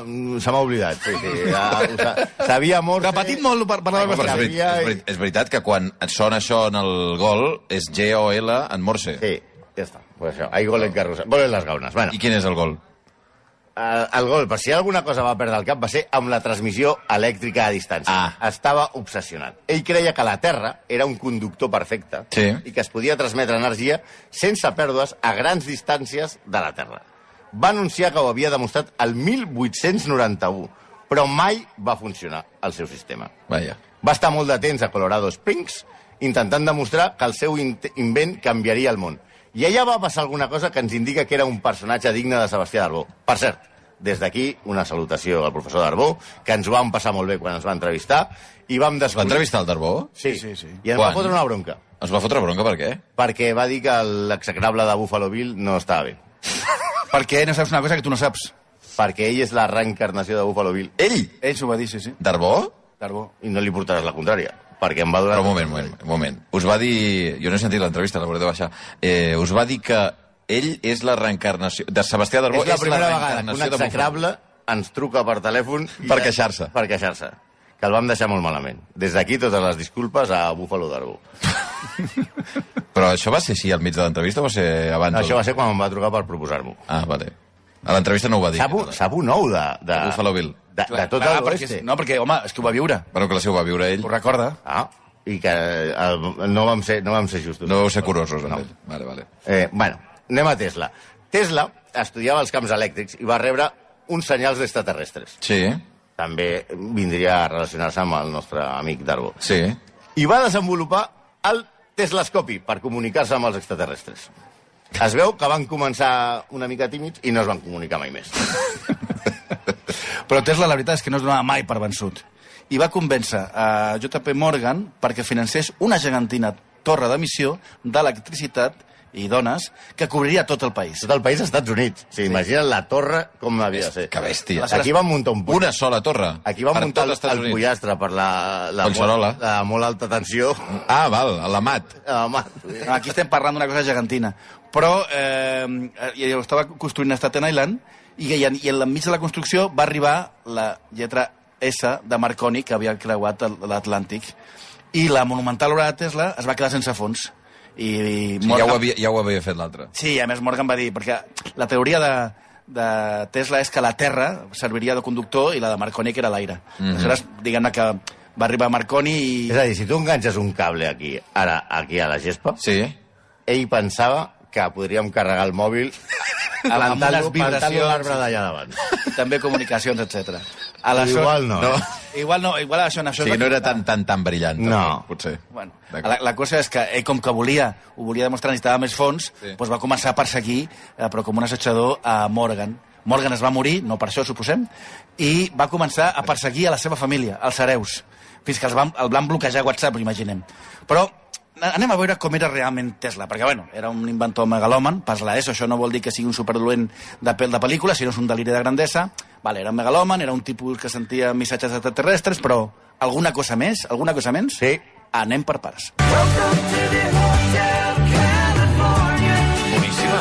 [SPEAKER 5] uh, se m'ha oblidat. Sí, sí, ja, ho sa- sabia molt...
[SPEAKER 6] Repetim molt per, per la
[SPEAKER 5] Ai,
[SPEAKER 4] Però és,
[SPEAKER 6] nostra.
[SPEAKER 4] veri- és, veri- és veritat que quan et sona això en el gol és G-O-L en morse.
[SPEAKER 5] Sí, ja està. Pues això, hay gol en carrusel. Volen les gaunes. Bueno,
[SPEAKER 4] I quin és el gol?
[SPEAKER 5] eh, el gol, per si alguna cosa va perdre el cap, va ser amb la transmissió elèctrica a distància.
[SPEAKER 4] Ah.
[SPEAKER 5] Estava obsessionat. Ell creia que la Terra era un conductor perfecte
[SPEAKER 4] Sí.
[SPEAKER 5] i que es podia transmetre energia sense pèrdues a grans distàncies de la Terra. Va anunciar que ho havia demostrat el 1891, però mai va funcionar el seu sistema.
[SPEAKER 4] Vaja.
[SPEAKER 5] Va estar molt de temps a Colorado Springs intentant demostrar que el seu in- invent canviaria el món. I allà va passar alguna cosa que ens indica que era un personatge digne de Sebastià Darbó. Per cert, des d'aquí una salutació al professor Darbó, que ens ho vam passar molt bé quan ens va entrevistar, i vam
[SPEAKER 4] Va
[SPEAKER 5] descobrir...
[SPEAKER 4] entrevistar el Darbó?
[SPEAKER 5] Sí,
[SPEAKER 6] Sí, sí, sí.
[SPEAKER 5] I ens va
[SPEAKER 4] Quan?
[SPEAKER 5] fotre una bronca,
[SPEAKER 4] Es va fotre bronca, per què?
[SPEAKER 5] perquè va dir que l'execrable de Buffalo Bill no estava bé.
[SPEAKER 6] Perquè no saps una cosa que tu no saps.
[SPEAKER 5] Perquè ell és la reencarnació de Buffalo Bill.
[SPEAKER 4] Ell?
[SPEAKER 6] Ell s'ho va dir, sí, sí.
[SPEAKER 4] Darbó?
[SPEAKER 6] Darbó.
[SPEAKER 5] I no li portaràs la contrària, perquè em va donar...
[SPEAKER 4] Però un moment, un moment, un moment. Us va dir... Jo no he sentit l'entrevista, la hauré de baixar. Eh, us va dir que ell és la reencarnació... De Sebastià Darbó
[SPEAKER 5] És la primera vegada que un
[SPEAKER 4] reencarnació de Buffalo.
[SPEAKER 5] execrable ens truca per telèfon... i-
[SPEAKER 4] Per queixar-se.
[SPEAKER 5] Per queixar-se. Que el vam deixar molt malament. Des d'aquí, totes les disculpes a Buffalo Darbo.
[SPEAKER 4] Però això va ser així al mig de l'entrevista o va ser abans?
[SPEAKER 5] Això va ser quan em va trucar per proposar-m'ho.
[SPEAKER 4] Ah, vale. A l'entrevista no ho va dir. eh,
[SPEAKER 5] Sap, un- sap un nou de... De,
[SPEAKER 4] De Buffalo Bill.
[SPEAKER 5] De, de tot
[SPEAKER 6] Clar, perquè,
[SPEAKER 5] l'oeste.
[SPEAKER 6] No, perquè, home, és que ho va viure.
[SPEAKER 4] Bueno, clar, si ho va viure ell.
[SPEAKER 6] Ho recorda.
[SPEAKER 5] Ah, i que eh, no vam ser, no vam ser justos.
[SPEAKER 4] No vau ser curosos amb
[SPEAKER 5] No.
[SPEAKER 4] ell. Vale, vale.
[SPEAKER 5] Eh, bueno, anem a Tesla. Tesla estudiava els camps elèctrics i va rebre uns senyals d'extraterrestres.
[SPEAKER 4] Sí,
[SPEAKER 5] També vindria a relacionar-se amb el nostre amic Darbo.
[SPEAKER 4] sí.
[SPEAKER 5] i va desenvolupar el Teslascopi per comunicar-se amb els extraterrestres. Es veu que van començar una mica tímids i no es van comunicar mai més.
[SPEAKER 6] Però Tesla, la veritat és que no es donava mai per vençut. I va convèncer a JP Morgan perquè financés una gegantina torre d'emissió d'electricitat i dones que cobriria tot el país.
[SPEAKER 5] Tot el país als Estats Units. Sí, Imagina't la torre com havia de ser.
[SPEAKER 4] Que bèstia.
[SPEAKER 5] Aquí van muntar un punt.
[SPEAKER 4] Una sola torre.
[SPEAKER 5] Aquí van
[SPEAKER 4] per
[SPEAKER 5] muntar
[SPEAKER 4] tot
[SPEAKER 5] el,
[SPEAKER 4] Estats
[SPEAKER 5] el
[SPEAKER 4] Units.
[SPEAKER 5] pollastre per la, la,
[SPEAKER 4] Collserola.
[SPEAKER 5] molt, la molt alta tensió.
[SPEAKER 4] Ah, val, a l'Amat.
[SPEAKER 5] [laughs] Home,
[SPEAKER 6] Aquí estem parlant d'una cosa gegantina. Però eh, eh, ho estava construint a Staten Island i, i, en- i enmig de la construcció va arribar la lletra S de Marconi que havia creuat el- l'Atlàntic i la monumental obra de Tesla es va quedar sense fons. I, i
[SPEAKER 4] Ja ho havia, ja ho havia fet l'altre.
[SPEAKER 6] Sí, a més Morgan va dir, perquè la teoria de, de Tesla és que la Terra serviria de conductor i la de Marconi que era l'aire. Mm -hmm. Aleshores, diguem-ne que va arribar Marconi i...
[SPEAKER 5] és a dir, si tu enganxes un cable aquí, ara, aquí a la gespa,
[SPEAKER 4] Sí.
[SPEAKER 5] ell pensava que podríem carregar
[SPEAKER 4] [laughs]
[SPEAKER 5] el mòbil
[SPEAKER 6] Amb unes
[SPEAKER 5] plantant-lo plantant
[SPEAKER 6] vibracions.
[SPEAKER 5] l'arbre d'allà davant.
[SPEAKER 6] i també comunicacions, etc.
[SPEAKER 5] Igual no.
[SPEAKER 4] No.
[SPEAKER 6] Igual no, igual això, en
[SPEAKER 4] O
[SPEAKER 6] això...
[SPEAKER 4] sigui,
[SPEAKER 6] es
[SPEAKER 4] no
[SPEAKER 6] va-
[SPEAKER 4] era tan, tan, tan brillant.
[SPEAKER 5] No.
[SPEAKER 4] tampoc, Potser.
[SPEAKER 6] Bueno,
[SPEAKER 4] D'acord.
[SPEAKER 6] la, la cosa és que ell, com que volia, ho volia demostrar, necessitava més fons,
[SPEAKER 4] Sí.
[SPEAKER 6] sí. doncs va començar a perseguir, eh, però com un assetjador, a Morgan. Morgan es va morir, no per això, suposem, i va començar a perseguir a la seva família, als hereus, fins que els van, el van bloquejar a WhatsApp, imaginem. Però a- anem a veure com era realment Tesla, perquè, bueno, era un inventor megalòman, pas la ESO, això no vol dir que sigui un superdolent de pèl de pel·lícula, sinó és un deliri de grandesa. Vale, era un megalòman, era un tipus que sentia missatges extraterrestres, però alguna cosa més, alguna cosa menys?
[SPEAKER 5] Sí.
[SPEAKER 6] Anem per parts.
[SPEAKER 4] Boníssima.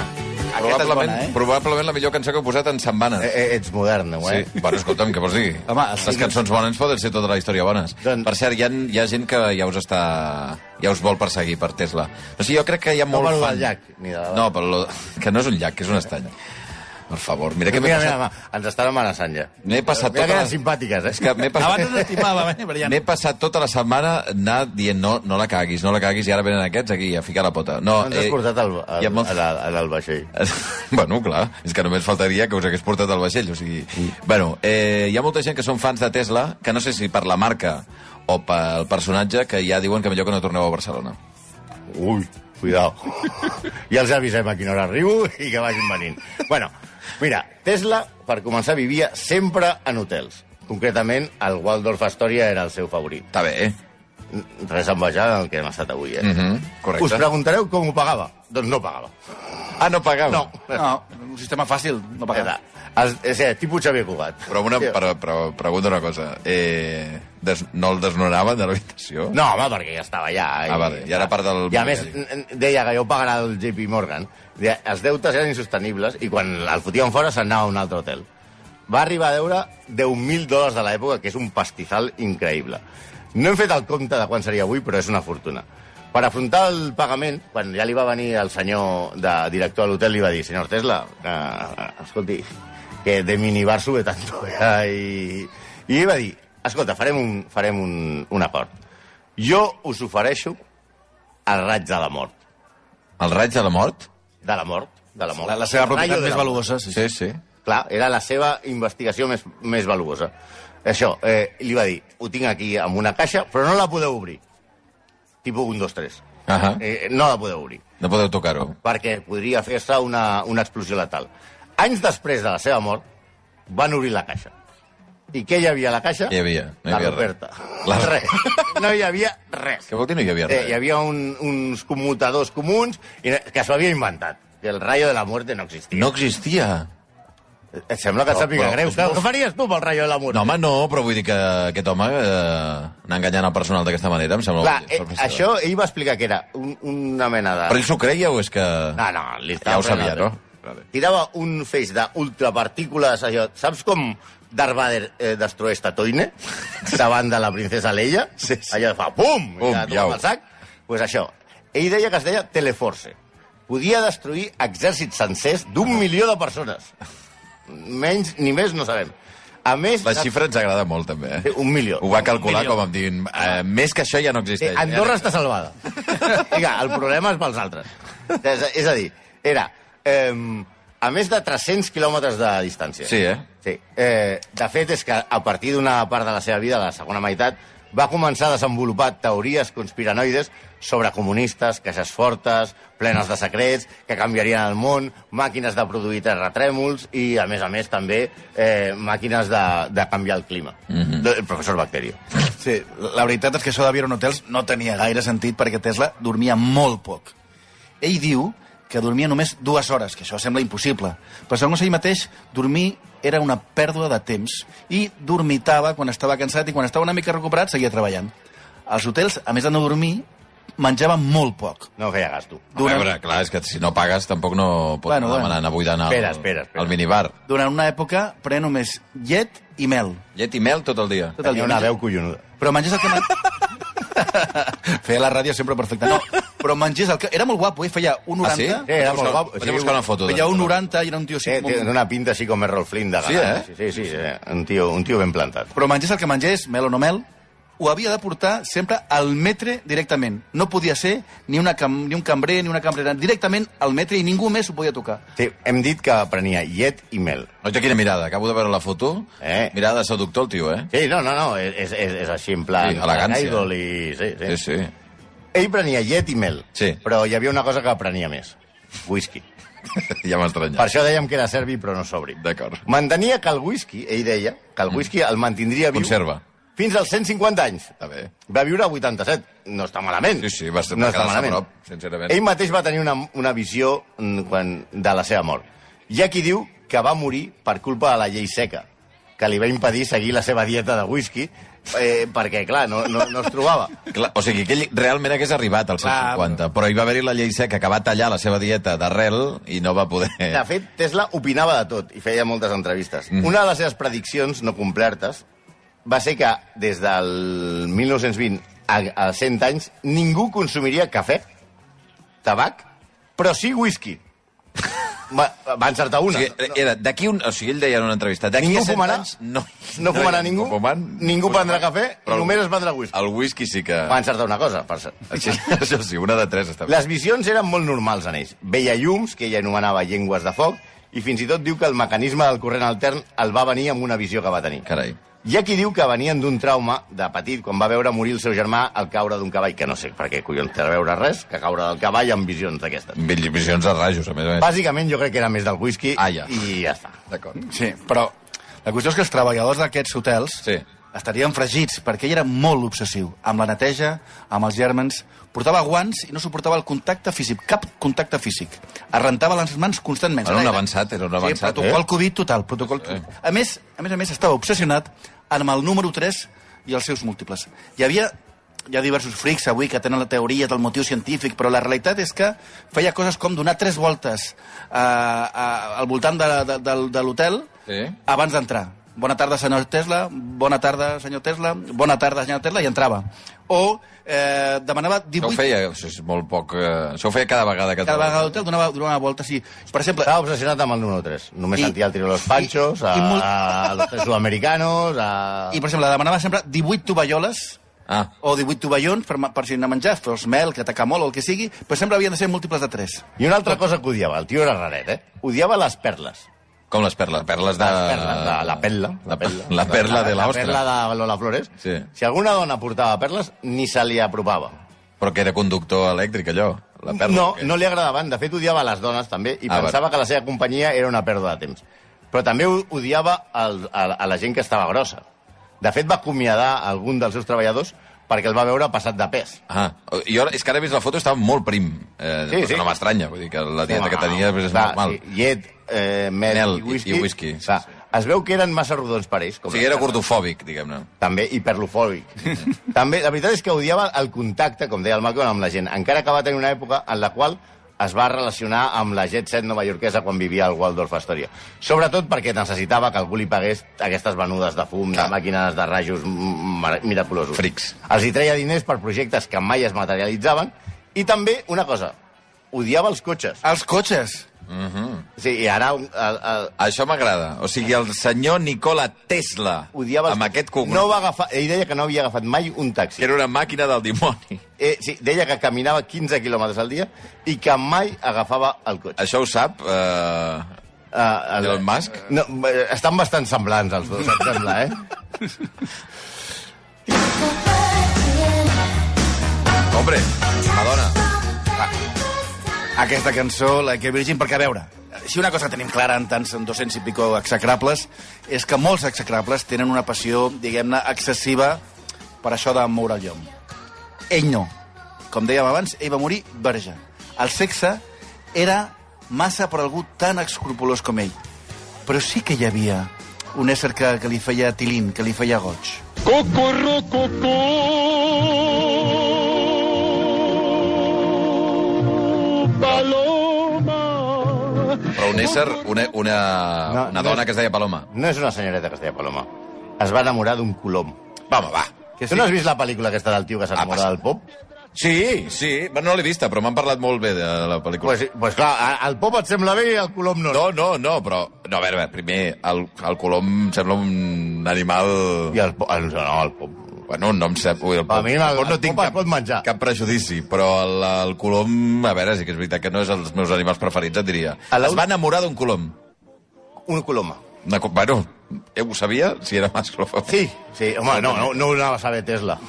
[SPEAKER 6] Aquesta és
[SPEAKER 4] Probablement,
[SPEAKER 6] bona, eh?
[SPEAKER 4] probablement la millor cançó que heu posat en setmanes.
[SPEAKER 5] Eh, eh, Ets modern, no, eh?
[SPEAKER 4] Sí. Bueno, escolta'm, què vols dir?
[SPEAKER 6] Home, sí,
[SPEAKER 4] les cançons bones poden ser tota la història bones.
[SPEAKER 5] Doncs-
[SPEAKER 4] Per cert, hi ha, hi ha gent que ja us està... ja us vol perseguir per Tesla. O sigui, jo crec que hi ha molt
[SPEAKER 5] per lo
[SPEAKER 4] fan...
[SPEAKER 5] del llac, ni de la-
[SPEAKER 4] No, per lo... [laughs] que no és un llac, que és un estany. Per favor, mira que m'he
[SPEAKER 5] Mira, mira,
[SPEAKER 4] passat...
[SPEAKER 5] mira, ens estan amenaçant ja.
[SPEAKER 4] M'he passat
[SPEAKER 5] Mira que
[SPEAKER 4] tota
[SPEAKER 5] eren
[SPEAKER 4] la-
[SPEAKER 5] simpàtiques, eh?
[SPEAKER 4] És que m'he passat...
[SPEAKER 6] Abans ens estimàvem, eh? Però ja no.
[SPEAKER 4] M'he passat tota la setmana anar dient no, no la caguis, no la caguis, i ara venen aquests aquí a ficar la pota. No, eh,
[SPEAKER 5] No ens has portat al, al,
[SPEAKER 4] hi ha molt-
[SPEAKER 5] a la- a al vaixell.
[SPEAKER 4] [laughs] bueno, clar, és que només faltaria que us hagués portat el vaixell, o sigui... Bueno, eh, hi ha molta gent que són fans de Tesla, que no sé si per la marca o pel personatge, que ja diuen que millor que no torneu a Barcelona.
[SPEAKER 5] Ui,
[SPEAKER 4] [laughs]
[SPEAKER 5] cuidao. Ja els avisem a quina hora arribo i que vagin venint. Bueno, mira, Tesla, per començar, vivia sempre en hotels. Concretament, el Waldorf Astoria era el seu favorit.
[SPEAKER 4] Està bé, eh?
[SPEAKER 5] Res a envejar del que hem estat avui, eh?
[SPEAKER 4] Mm -hmm, correcte.
[SPEAKER 5] Us preguntareu com ho pagava. Doncs no pagava.
[SPEAKER 4] Ah, no pagava.
[SPEAKER 5] No.
[SPEAKER 6] No, un sistema fàcil, no pagarà.
[SPEAKER 5] Era, es, és, eh, tipus Xavier Cugat.
[SPEAKER 4] Però, una,
[SPEAKER 5] Sí.
[SPEAKER 4] però, però pregunto una cosa. Eh, des, no el desnonaven de l'habitació?
[SPEAKER 5] No, home, perquè ja estava allà.
[SPEAKER 4] Ah, vale, ja era part del-
[SPEAKER 5] I a més, n- deia que ja ho pagarà el JP Morgan. Deia, els deutes eren insostenibles i quan el fotien fora se'n anava a un altre hotel. Va arribar a deure 10.000 dòlars de l'època, que és un pastizal increïble. No hem fet el compte de quan seria avui, però és una fortuna. Per afrontar el pagament, quan ja li va venir el senyor de director de l'hotel, li va dir, senyor Tesla, eh, escolti, que de minibar sube tanto. Ja, i, I li va dir, escolta, farem un, farem un, un acord. Jo us ofereixo el raig de la mort.
[SPEAKER 4] El raig de la mort?
[SPEAKER 5] De la mort. De la, mort.
[SPEAKER 6] La, la seva
[SPEAKER 5] El rayo
[SPEAKER 6] propietat
[SPEAKER 5] de
[SPEAKER 6] més
[SPEAKER 5] la mort.
[SPEAKER 6] valuosa, sí.
[SPEAKER 4] Sí,
[SPEAKER 6] sí.
[SPEAKER 4] sí.
[SPEAKER 5] Clar, era la seva investigació més, més valuosa. Això, eh, li va dir, ho tinc aquí amb una caixa, però no la podeu obrir. Tipus 1, 2, 3.
[SPEAKER 4] Ahà.
[SPEAKER 5] Eh, no la podeu obrir,
[SPEAKER 4] No podeu tocar-ho.
[SPEAKER 5] perquè podria fer-se una, una explosió letal. Anys després de la seva mort, van obrir la caixa. I què hi havia a la caixa?
[SPEAKER 4] Què hi havia? No hi
[SPEAKER 5] la
[SPEAKER 4] havia res.
[SPEAKER 5] Roberta.
[SPEAKER 4] La-
[SPEAKER 5] Res. No hi havia res.
[SPEAKER 4] Què vol dir no hi havia res?
[SPEAKER 5] Eh, hi havia un, uns commutadors comuns i no- que s'ho havia inventat, que el rayo de la muerte no existia.
[SPEAKER 4] No existia.
[SPEAKER 5] Et sembla que et
[SPEAKER 4] Però-
[SPEAKER 5] sàpiga
[SPEAKER 4] però-
[SPEAKER 5] greu. Però, què faries tu amb el rayo de la muerte?
[SPEAKER 4] No, home, no, però vull dir que aquest home eh, anar enganyant el personal d'aquesta manera em sembla...
[SPEAKER 5] Clar,
[SPEAKER 4] molt
[SPEAKER 5] eh,
[SPEAKER 4] permissible.
[SPEAKER 5] això ell va explicar que era un, una mena de...
[SPEAKER 4] Però ell s'ho creia o és que...
[SPEAKER 5] No, no, li
[SPEAKER 4] Ja ho sabia,
[SPEAKER 5] frenant.
[SPEAKER 4] no? eh? Vale.
[SPEAKER 5] Tirava un feix d'ultrapartícules, allò... Saps com Darth Vader eh, destrueix
[SPEAKER 4] [laughs]
[SPEAKER 5] Tatooine davant de la princesa Leia?
[SPEAKER 4] Sí, sí.
[SPEAKER 5] Allò fa pum!
[SPEAKER 4] Pum,
[SPEAKER 5] I ja
[SPEAKER 4] iau.
[SPEAKER 5] tomba el sac. pues això. Ell deia que es deia Teleforce. Podia destruir exèrcits sencers d'un milió de persones. Menys ni més no sabem. A més...
[SPEAKER 4] La xifra ens agrada molt, també.
[SPEAKER 5] Sí,
[SPEAKER 4] Eh?
[SPEAKER 5] Un milió.
[SPEAKER 4] Ho va calcular
[SPEAKER 5] Un milió.
[SPEAKER 4] com em dient... Eh, més que això ja no
[SPEAKER 5] Sí,
[SPEAKER 4] existeix. eh?
[SPEAKER 5] Andorra està salvada. [laughs] Vinga, el problema és pels altres. És, és a dir, era... Eh, a més de 300 quilòmetres de distància.
[SPEAKER 4] Sí, eh?
[SPEAKER 5] Sí. Eh, de fet, és que a partir d'una part de la seva vida, la segona meitat, va començar a desenvolupar teories conspiranoides sobre comunistes, caixes fortes, plenes de secrets, que canviarien el món, màquines de produir terratrèmols i, a més a més, també eh, màquines de, de canviar el clima. Del professor Bacterio.
[SPEAKER 6] Sí, la veritat és que això de viure en hotels no tenia gaire sentit perquè Tesla dormia molt poc. Ell diu que dormia només dues hores, que això sembla impossible. Però segons ell mateix, dormir era una pèrdua de temps i dormitava quan estava cansat i quan estava una mica recuperat seguia treballant. Als hotels, a més de no dormir, menjava molt poc.
[SPEAKER 5] No feia gasto.
[SPEAKER 4] A
[SPEAKER 6] Durant,
[SPEAKER 4] veure, clar, és que si no pagues tampoc no pots
[SPEAKER 6] Bueno,
[SPEAKER 4] bueno, demanar
[SPEAKER 6] bueno.
[SPEAKER 4] anar buidant al,
[SPEAKER 5] Espera, espera, espera.
[SPEAKER 4] al minibar.
[SPEAKER 6] durant una època, prenia només llet i mel.
[SPEAKER 4] Llet i mel tot el dia.
[SPEAKER 6] Tot el
[SPEAKER 5] Tenia
[SPEAKER 6] dia.
[SPEAKER 5] una
[SPEAKER 6] Menja-
[SPEAKER 5] veu collonuda.
[SPEAKER 6] Però mengés el que...
[SPEAKER 4] [laughs]
[SPEAKER 6] Man... feia la ràdio sempre perfecta. No, però mengés el que... Era molt guapo, eh? Feia un 90...
[SPEAKER 4] Ah, sí?
[SPEAKER 5] Sí, era molt guapo.
[SPEAKER 4] Vaig
[SPEAKER 5] Sí,
[SPEAKER 4] a buscar una foto. Eh,
[SPEAKER 6] Feia un 90 i era un tio
[SPEAKER 5] Sí,
[SPEAKER 6] així...
[SPEAKER 5] té
[SPEAKER 6] molt...
[SPEAKER 5] una pinta així com Errol Flynn de
[SPEAKER 4] Sí,
[SPEAKER 5] galán.
[SPEAKER 4] eh?
[SPEAKER 5] Sí, sí, sí, sí, un, tio, un tio ben plantat.
[SPEAKER 6] Però mengés el que mengés, mel o no mel, ho havia de portar sempre al metre directament. No podia ser ni, una cam... ni un cambrer ni una cambrera. Directament al metre i ningú més ho podia tocar.
[SPEAKER 5] Sí, hem dit que prenia llet i mel.
[SPEAKER 4] Oita, quina mirada. Acabo de veure la foto.
[SPEAKER 5] Eh.
[SPEAKER 4] Mirada de seductor, el tio, eh?
[SPEAKER 5] Sí, no, no, no, és, és, és així en plan...
[SPEAKER 4] Sí, elegància.
[SPEAKER 5] Idol i... Sí, sí.
[SPEAKER 4] Sí, sí.
[SPEAKER 5] Ell prenia llet i mel,
[SPEAKER 4] Sí.
[SPEAKER 5] però hi havia una cosa que prenia més. Whisky.
[SPEAKER 4] [laughs] ja m'estranya.
[SPEAKER 5] Per això dèiem que era serbi, però no sobri.
[SPEAKER 4] D'acord.
[SPEAKER 5] Mantenia que el whisky, ell deia, que el whisky el mantindria viu...
[SPEAKER 4] Conserva.
[SPEAKER 5] Fins als 150 anys.
[SPEAKER 4] Està bé.
[SPEAKER 5] Va viure a 87. No està malament.
[SPEAKER 4] Sí, sí, va ser-
[SPEAKER 5] no
[SPEAKER 4] va
[SPEAKER 5] està
[SPEAKER 4] quedar-se a
[SPEAKER 5] malament.
[SPEAKER 4] prop, sincerament.
[SPEAKER 5] Ell mateix va tenir una, una visió mm, quan, de la seva mort. Hi ha qui diu que va morir per culpa de la llei seca, que li va impedir seguir la seva dieta de whisky, eh, perquè, clar, no, no, no es trobava.
[SPEAKER 4] Clar, o sigui, que ell realment hagués arribat als
[SPEAKER 6] Clar,
[SPEAKER 4] 150, però hi va haver-hi la llei seca que va tallar la seva dieta d'arrel i no va poder...
[SPEAKER 5] De fet, Tesla opinava de tot i feia moltes entrevistes. Eh. Mm. Una de les seves prediccions no complertes va ser que des del 1920 a, a 100 anys ningú consumiria cafè, tabac, però sí whisky. Va, va encertar
[SPEAKER 4] O
[SPEAKER 5] una.
[SPEAKER 4] sigui, era d'aquí un... O sigui, ell deia en una entrevista... d'aquí
[SPEAKER 5] Ningú
[SPEAKER 4] a cent
[SPEAKER 5] fumarà?
[SPEAKER 4] anys No,
[SPEAKER 5] eh, No
[SPEAKER 4] hi
[SPEAKER 5] fumarà
[SPEAKER 4] ha
[SPEAKER 5] ningú,
[SPEAKER 4] fumant,
[SPEAKER 5] ningú Ah, prendrà cafè,
[SPEAKER 4] Però el-
[SPEAKER 5] només es vendrà whisky.
[SPEAKER 4] El whisky sí que...
[SPEAKER 5] Va encertar una cosa, per cert.
[SPEAKER 4] Això, això [laughs] sí, una de tres està bé.
[SPEAKER 5] Les visions eren molt normals en ells. Veia llums, que ella anomenava llengües de foc, i fins i tot diu que el mecanisme del corrent altern el va venir amb una visió que va tenir.
[SPEAKER 4] Carai.
[SPEAKER 5] Hi ha qui diu que venien d'un trauma de petit quan va veure morir el seu germà al caure d'un cavall, que no sé per què collons té a veure res, que caure del cavall amb visions d'aquestes.
[SPEAKER 4] Vil- Visions de rajos, a més a més.
[SPEAKER 5] Bàsicament jo crec que era més del whisky
[SPEAKER 4] Ah, ja.
[SPEAKER 5] i ja està.
[SPEAKER 4] D'acord.
[SPEAKER 6] Sí, però la qüestió és que els treballadors d'aquests hotels
[SPEAKER 4] Sí.
[SPEAKER 6] estarien fregits, perquè ell era molt obsessiu, amb la neteja, amb els germans, portava guants i no suportava el contacte físic, cap contacte físic. Es rentava les mans constantment.
[SPEAKER 4] Era un avançat, era un avançat,
[SPEAKER 6] Sí, protocol
[SPEAKER 4] eh?
[SPEAKER 6] Covid total, protocol Covid. A més, a més a més, estava obsessionat amb el número 3 i els seus múltiples. Hi havia hi ha diversos frics avui que tenen la teoria del motiu científic, però la realitat és que feia coses com donar tres voltes eh, a, al voltant de, de, de, de l'hotel
[SPEAKER 4] Sí.
[SPEAKER 6] abans d'entrar. Bona tarda, senyor Tesla, bona tarda, senyor Tesla, bona tarda, senyor Tesla, i entrava. O eh, demanava
[SPEAKER 4] Això
[SPEAKER 6] 18...
[SPEAKER 4] ho feia, això és molt poc... Eh, això ho feia cada vegada que...
[SPEAKER 6] Cada vegada a l'hotel donava, donava una volta, sí. Per exemple,
[SPEAKER 5] Estava obsessionat amb el número 3. Només I,
[SPEAKER 6] I-
[SPEAKER 5] sentia el tiro de los panchos,
[SPEAKER 6] i-
[SPEAKER 5] a,
[SPEAKER 6] i molt-
[SPEAKER 5] a los tres sudamericanos, a...
[SPEAKER 6] I, per exemple, demanava sempre 18 tovalloles
[SPEAKER 4] Ah,
[SPEAKER 6] o 18 tovallons per, ma- per si anar a menjar, fos mel, que taca molt o el que sigui, però sempre havien de ser múltiples de 3.
[SPEAKER 5] I una altra cosa que odiava, el tio era raret, eh? Odiava les perles.
[SPEAKER 4] com les perles? Perles de...
[SPEAKER 5] Les perles, la, la perla.
[SPEAKER 4] La, pe- la perla de la ostra.
[SPEAKER 5] La perla de Lola Flores.
[SPEAKER 4] Sí.
[SPEAKER 5] Si alguna dona portava perles, ni se li apropava.
[SPEAKER 4] Però que era conductor elèctric, allò. La perla,
[SPEAKER 5] no,
[SPEAKER 4] Ah, que...
[SPEAKER 5] no li agradaven. De fet, odiava les dones, també, i
[SPEAKER 4] Ah,
[SPEAKER 5] pensava que la seva companyia era una pèrdua de temps. Però també ho- odiava el, a, a la gent que estava grossa. De fet, va acomiadar algun dels seus treballadors perquè el va veure passat de pes.
[SPEAKER 4] Ah, jo, ara- és que ara he vist la foto, estava molt prim. Eh,
[SPEAKER 5] Sí,
[SPEAKER 4] però
[SPEAKER 5] sí.
[SPEAKER 4] No m'estranya, vull dir que la dieta que tenia és
[SPEAKER 5] Clar,
[SPEAKER 4] normal.
[SPEAKER 5] Sí, llet, eh, mel,
[SPEAKER 4] Mel
[SPEAKER 5] i whisky.
[SPEAKER 4] i whisky, sí,
[SPEAKER 5] Clar,
[SPEAKER 4] sí.
[SPEAKER 5] Es veu que eren massa rodons per ells. Com
[SPEAKER 4] O sigui, era
[SPEAKER 5] les cartes.
[SPEAKER 4] gordofòbic, diguem-ne.
[SPEAKER 5] També
[SPEAKER 4] [laughs]
[SPEAKER 5] hiperlofòbic. També, la veritat és que odiava el contacte, com deia el Malcolm, amb la gent, encara que va tenir una època en la qual es va relacionar amb la jet set novaiorquesa quan vivia al Waldorf Astoria. Sobretot perquè necessitava que algú li pagués aquestes venudes de fum,
[SPEAKER 4] Clar.
[SPEAKER 5] de màquines de rajos mm, mar- miraculosos.
[SPEAKER 4] Frics.
[SPEAKER 5] Els hi treia diners per projectes que mai es materialitzaven. I també, una cosa, odiava els cotxes.
[SPEAKER 6] Els cotxes!
[SPEAKER 5] Sí, i ara un- el, el,
[SPEAKER 4] Això m'agrada. O sigui, el senyor Nikola Tesla,
[SPEAKER 5] odiava... els
[SPEAKER 4] amb
[SPEAKER 5] cotxes.
[SPEAKER 4] aquest cognom,
[SPEAKER 5] No va agafar... Ell deia que no havia agafat mai un
[SPEAKER 4] que
[SPEAKER 5] taxi.
[SPEAKER 4] era una màquina del dimoni.
[SPEAKER 5] Eh, sí, deia que caminava 15 quilòmetres al dia i que mai agafava el cotxe.
[SPEAKER 4] Això ho sap... Eh...
[SPEAKER 5] Eh, el...
[SPEAKER 4] Elon Musk?
[SPEAKER 5] No, eh, estan bastant semblants els dos, em sembla, eh?
[SPEAKER 4] Hombre, Madonna.
[SPEAKER 6] Aquesta cançó, la que Virgin, perquè a veure, si una cosa tenim clara en tants en 200 i pico execrables, és que molts execrables tenen una passió, diguem-ne, excessiva per això de moure el llom. Ell no. Com dèiem abans, ell va morir verge. El sexe era massa per algú tan escrupulós com ell. Però sí que hi havia un ésser que, que li feia tilín, que li feia goig.
[SPEAKER 4] Però un ésser, una, una,
[SPEAKER 5] No,
[SPEAKER 4] una
[SPEAKER 5] no
[SPEAKER 4] dona
[SPEAKER 5] és-
[SPEAKER 4] que es deia Paloma.
[SPEAKER 5] No és una senyoreta que es deia Paloma. Es va enamorar d'un colom.
[SPEAKER 4] Va, home, va.
[SPEAKER 5] Tu no has vist la pel·lícula aquesta del tio que
[SPEAKER 4] Ah,
[SPEAKER 5] s'enamora
[SPEAKER 4] passa.
[SPEAKER 5] del pop?
[SPEAKER 4] Sí, sí. Bueno, no l'he vista, però m'han parlat molt bé de la pel·lícula.
[SPEAKER 5] Pues, pues clar, a- el pop et sembla bé i el colom no.
[SPEAKER 4] No, no, no, però... No, a veure, a veure primer, el, el colom em sembla un animal...
[SPEAKER 5] I el, po- el, no, el pop...
[SPEAKER 4] Bueno, no em sap... Ui, el
[SPEAKER 5] A mi el-
[SPEAKER 4] pop
[SPEAKER 5] el pop es pot menjar.
[SPEAKER 4] cap prejudici, però el, el colom... A veure, sí que és veritat que no és els meus animals preferits, et diria.
[SPEAKER 5] A la
[SPEAKER 4] Es
[SPEAKER 5] ul-
[SPEAKER 4] va enamorar d'un colom.
[SPEAKER 5] Un coloma.
[SPEAKER 4] Una, co- bueno, eh, ho sabia, si era mascle o femella.
[SPEAKER 5] Sí, sí, home, no, no, no ho anava a saber Tesla.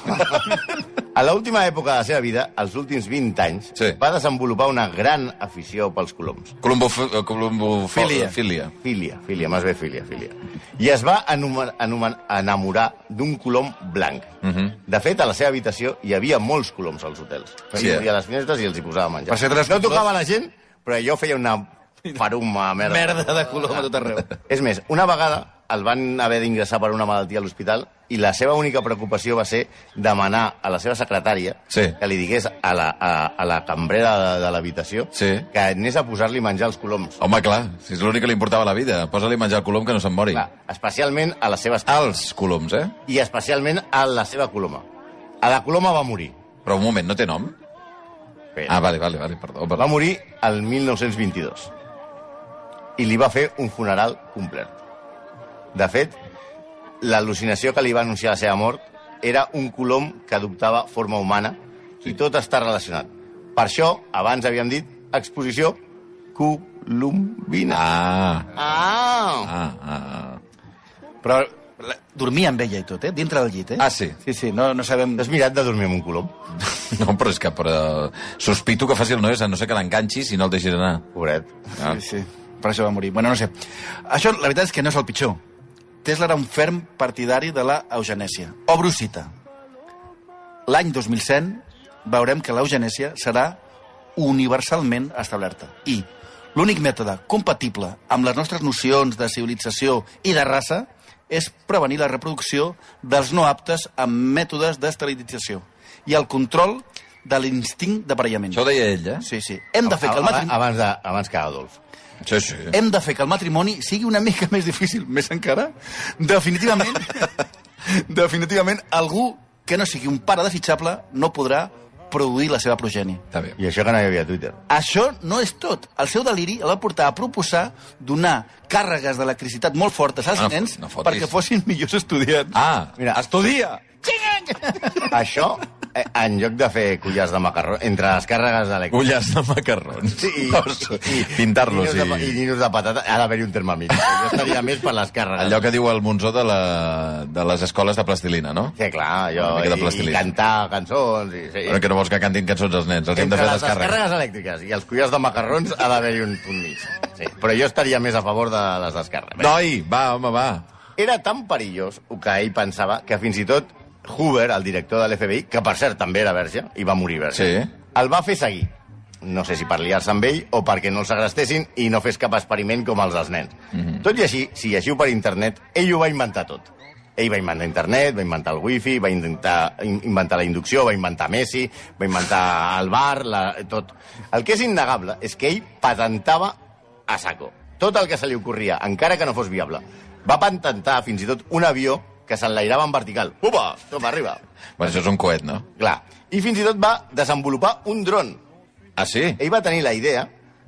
[SPEAKER 5] A l'última època de la seva vida, als últims 20 anys,
[SPEAKER 4] Sí.
[SPEAKER 5] va desenvolupar una gran afició pels coloms.
[SPEAKER 4] Colombof... eh, Colombofília.
[SPEAKER 6] Filia.
[SPEAKER 4] Filia.
[SPEAKER 5] Filia, filia, més bé filia, filia. I es va anomen- anomen- enamorar d'un colom blanc.
[SPEAKER 6] Mhm.
[SPEAKER 5] De fet, a la seva habitació hi havia molts coloms als hotels.
[SPEAKER 4] Sí,
[SPEAKER 5] Sí,
[SPEAKER 4] eh?
[SPEAKER 5] a les finestres i els hi posava a menjar.
[SPEAKER 6] Per ser tres
[SPEAKER 5] no tocava la gent, però allò feia una faruma, merda.
[SPEAKER 6] Merda de color a tot arreu.
[SPEAKER 5] És més, una vegada el van haver d'ingressar per una malaltia a l'hospital i la seva única preocupació va ser demanar a la seva secretària
[SPEAKER 4] Sí.
[SPEAKER 5] que li digués a la, a, a la cambrera de, de l'habitació
[SPEAKER 4] Sí.
[SPEAKER 5] que anés a posar-li menjar els coloms.
[SPEAKER 4] Home, clar, si és l'únic que li importava la vida. Posa-li a menjar el colom que no se'n mori.
[SPEAKER 5] Clar, especialment a les seves
[SPEAKER 4] Als coloms, eh?
[SPEAKER 5] i especialment a la seva coloma. A la coloma va morir.
[SPEAKER 4] Però un moment, no té nom? Ah,
[SPEAKER 5] va.
[SPEAKER 4] vale, vale, vale perdó.
[SPEAKER 5] Eh. va
[SPEAKER 4] perdó.
[SPEAKER 5] morir el 1922. I li va fer un funeral complet. De fet, l'al·lucinació que li va anunciar la seva mort era un colom que adoptava forma humana i tot està relacionat. Per això, abans havíem dit, exposició colombina.
[SPEAKER 4] Ah,
[SPEAKER 5] Ah!
[SPEAKER 4] ah, ah.
[SPEAKER 6] Però la, dormia amb ella i tot, eh? Dintre del llit, eh?
[SPEAKER 4] Ah, sí.
[SPEAKER 6] Sí, sí, no, no sabem...
[SPEAKER 5] T'has mirat de dormir amb un colom?
[SPEAKER 4] No, però és que però... sospito que faci el noi, a no sé que l'enganxis i no el deixis anar.
[SPEAKER 5] Pobret.
[SPEAKER 4] Ah.
[SPEAKER 6] Sí, sí, per això va morir. Bueno, no sé. Això, la veritat és que no és el pitjor. Tesla era un ferm partidari de la eugenèsia. Obro cita. L'any 2100 veurem que l'eugenèsia serà universalment establerta. I l'únic mètode compatible amb les nostres nocions de civilització i de raça és prevenir la reproducció dels no aptes amb mètodes d'esterilització i el control de l'instint d'aparellament.
[SPEAKER 4] Això ho deia ell, eh?
[SPEAKER 6] Sí, sí. Hem de fer que el
[SPEAKER 5] Abans,
[SPEAKER 6] matrimoni...
[SPEAKER 5] abans, de, abans que Adolf.
[SPEAKER 4] Sí, sí.
[SPEAKER 6] hem de fer que el matrimoni sigui una mica més difícil, més encara, [laughs] definitivament, definitivament algú que no sigui un pare de fitxable no podrà produir la seva progènie.
[SPEAKER 4] Està bé.
[SPEAKER 5] I això que no hi havia Twitter.
[SPEAKER 6] Això no és tot. El seu deliri el va portar a proposar donar càrregues d'electricitat molt fortes als
[SPEAKER 4] No, no
[SPEAKER 6] nens
[SPEAKER 4] fotis.
[SPEAKER 6] perquè fossin millors estudiants.
[SPEAKER 4] Ah,
[SPEAKER 5] Mira.
[SPEAKER 4] estudia!
[SPEAKER 5] [laughs] Això, eh, en lloc de fer collars de macarró, entre les càrregues elèctriques...
[SPEAKER 4] Ulles de macarrons.
[SPEAKER 5] Sí, i, i,
[SPEAKER 4] Pintar-los
[SPEAKER 5] i... ninos de- I
[SPEAKER 4] i...
[SPEAKER 5] ninos de patata. Ha d'haver-hi un terme mig. Jo estaria més per les càrregues.
[SPEAKER 4] Allò que diu el Monzó de, la, de les escoles de plastilina, no?
[SPEAKER 5] Sí, clar, jo...
[SPEAKER 4] Una mica de
[SPEAKER 5] I, i
[SPEAKER 4] plastilina.
[SPEAKER 5] cantar cançons... I, sí.
[SPEAKER 4] Però que no vols que cantin cançons els nens, els hem de
[SPEAKER 5] Entre
[SPEAKER 4] fer
[SPEAKER 5] les
[SPEAKER 4] les càrregues.
[SPEAKER 5] descàrregues elèctriques i els collars de macarrons ha d'haver-hi un punt mig. Sí. Però jo estaria més a favor de les descàrregues.
[SPEAKER 4] Noi, va, home, va.
[SPEAKER 5] Era tan perillós el que ell pensava que fins i tot Hoover, el director de l'FBI, que per cert també era verge i va morir verge,
[SPEAKER 4] Sí.
[SPEAKER 5] el va fer seguir. No sé si per liar-se amb ell o perquè no el segrestessin i no fes cap experiment com els dels nens. Tot i així, si llegiu per internet, ell ho va inventar tot. Ell va inventar internet, va inventar el wifi, va inventar, in- inventar la inducció, va inventar Messi, va inventar el bar, la, tot. El que és innegable és que ell patentava a saco. Tot el que se li ocorria, encara que no fos viable. Va patentar fins i tot un avió que s'enlairava en vertical. Upa! Top arriba.
[SPEAKER 4] Bueno, això és un coet, no?
[SPEAKER 5] Clar. I fins i tot va desenvolupar un dron.
[SPEAKER 4] Ah, sí?
[SPEAKER 5] Ell va tenir la idea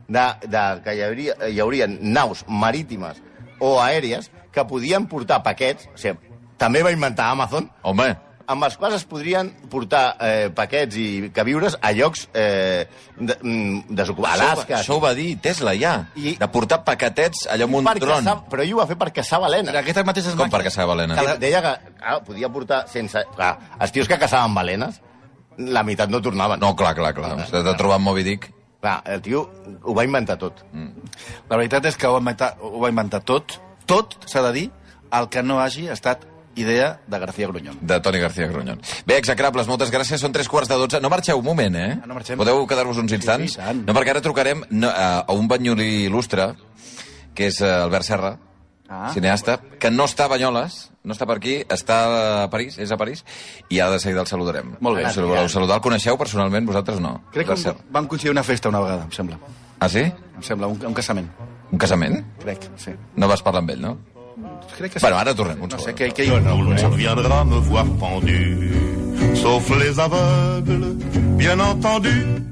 [SPEAKER 5] de, de que hi hauria, hi hauria naus marítimes o aèries que podien portar paquets, o sigui, també va inventar Amazon,
[SPEAKER 4] Home,
[SPEAKER 5] amb els quals es podrien portar eh, paquets i queviures a llocs eh, de, mm, desocupats.
[SPEAKER 4] això,
[SPEAKER 5] Alaska.
[SPEAKER 4] això ho va dir Tesla, ja.
[SPEAKER 5] I-
[SPEAKER 4] De portar paquetets allà amb un
[SPEAKER 5] Per caçar-
[SPEAKER 4] dron.
[SPEAKER 5] Però ell ho va fer per caçar balenes.
[SPEAKER 6] Però aquestes mateixes
[SPEAKER 4] Com per
[SPEAKER 6] màquines-
[SPEAKER 4] caçar balenes?
[SPEAKER 5] Que la- Deia que ah, podia portar sense... Clar, els tios que caçaven balenes, la meitat no tornaven.
[SPEAKER 4] No, clar, clar, clar. S'ha de trobar amb Moby Dick.
[SPEAKER 5] Clar, el tio ho va inventar tot.
[SPEAKER 6] La veritat és que ho va inventar, ho va inventar tot, tot s'ha de dir, el que no hagi estat idea de García Grunyón.
[SPEAKER 4] de Toni García Grunyón. Bé, execrables, moltes gràcies. Són tres quarts de dotze. No marxeu un moment, eh?
[SPEAKER 6] Ah, no marxem.
[SPEAKER 4] Podeu quedar-vos uns
[SPEAKER 6] sí,
[SPEAKER 4] instants?
[SPEAKER 6] i tant.
[SPEAKER 4] no, perquè ara trucarem no, a a un banyolí il·lustre, que és eh, Albert Serra,
[SPEAKER 6] Ah.
[SPEAKER 4] cineasta, que no està a Banyoles, no està per aquí, està a París, és a París, i ara de seguida el saludarem.
[SPEAKER 6] Molt bé.
[SPEAKER 4] Si el voleu saludar, el coneixeu personalment, vosaltres no.
[SPEAKER 6] Crec que
[SPEAKER 4] Albert
[SPEAKER 6] vam, vam coincidir una festa una vegada, em sembla.
[SPEAKER 4] Serra. Ah, sí?
[SPEAKER 6] Em sembla, un, un casament,
[SPEAKER 4] Un casament?
[SPEAKER 6] crec, sí.
[SPEAKER 4] No vas parlar amb ell, no?
[SPEAKER 6] Crec que sí.
[SPEAKER 4] Bueno, ara tornem, un
[SPEAKER 6] no sé,
[SPEAKER 4] segon.
[SPEAKER 6] què, què hi...
[SPEAKER 3] Que nul ne viendra me voir pendu, sauf les aveugles, bien entendu,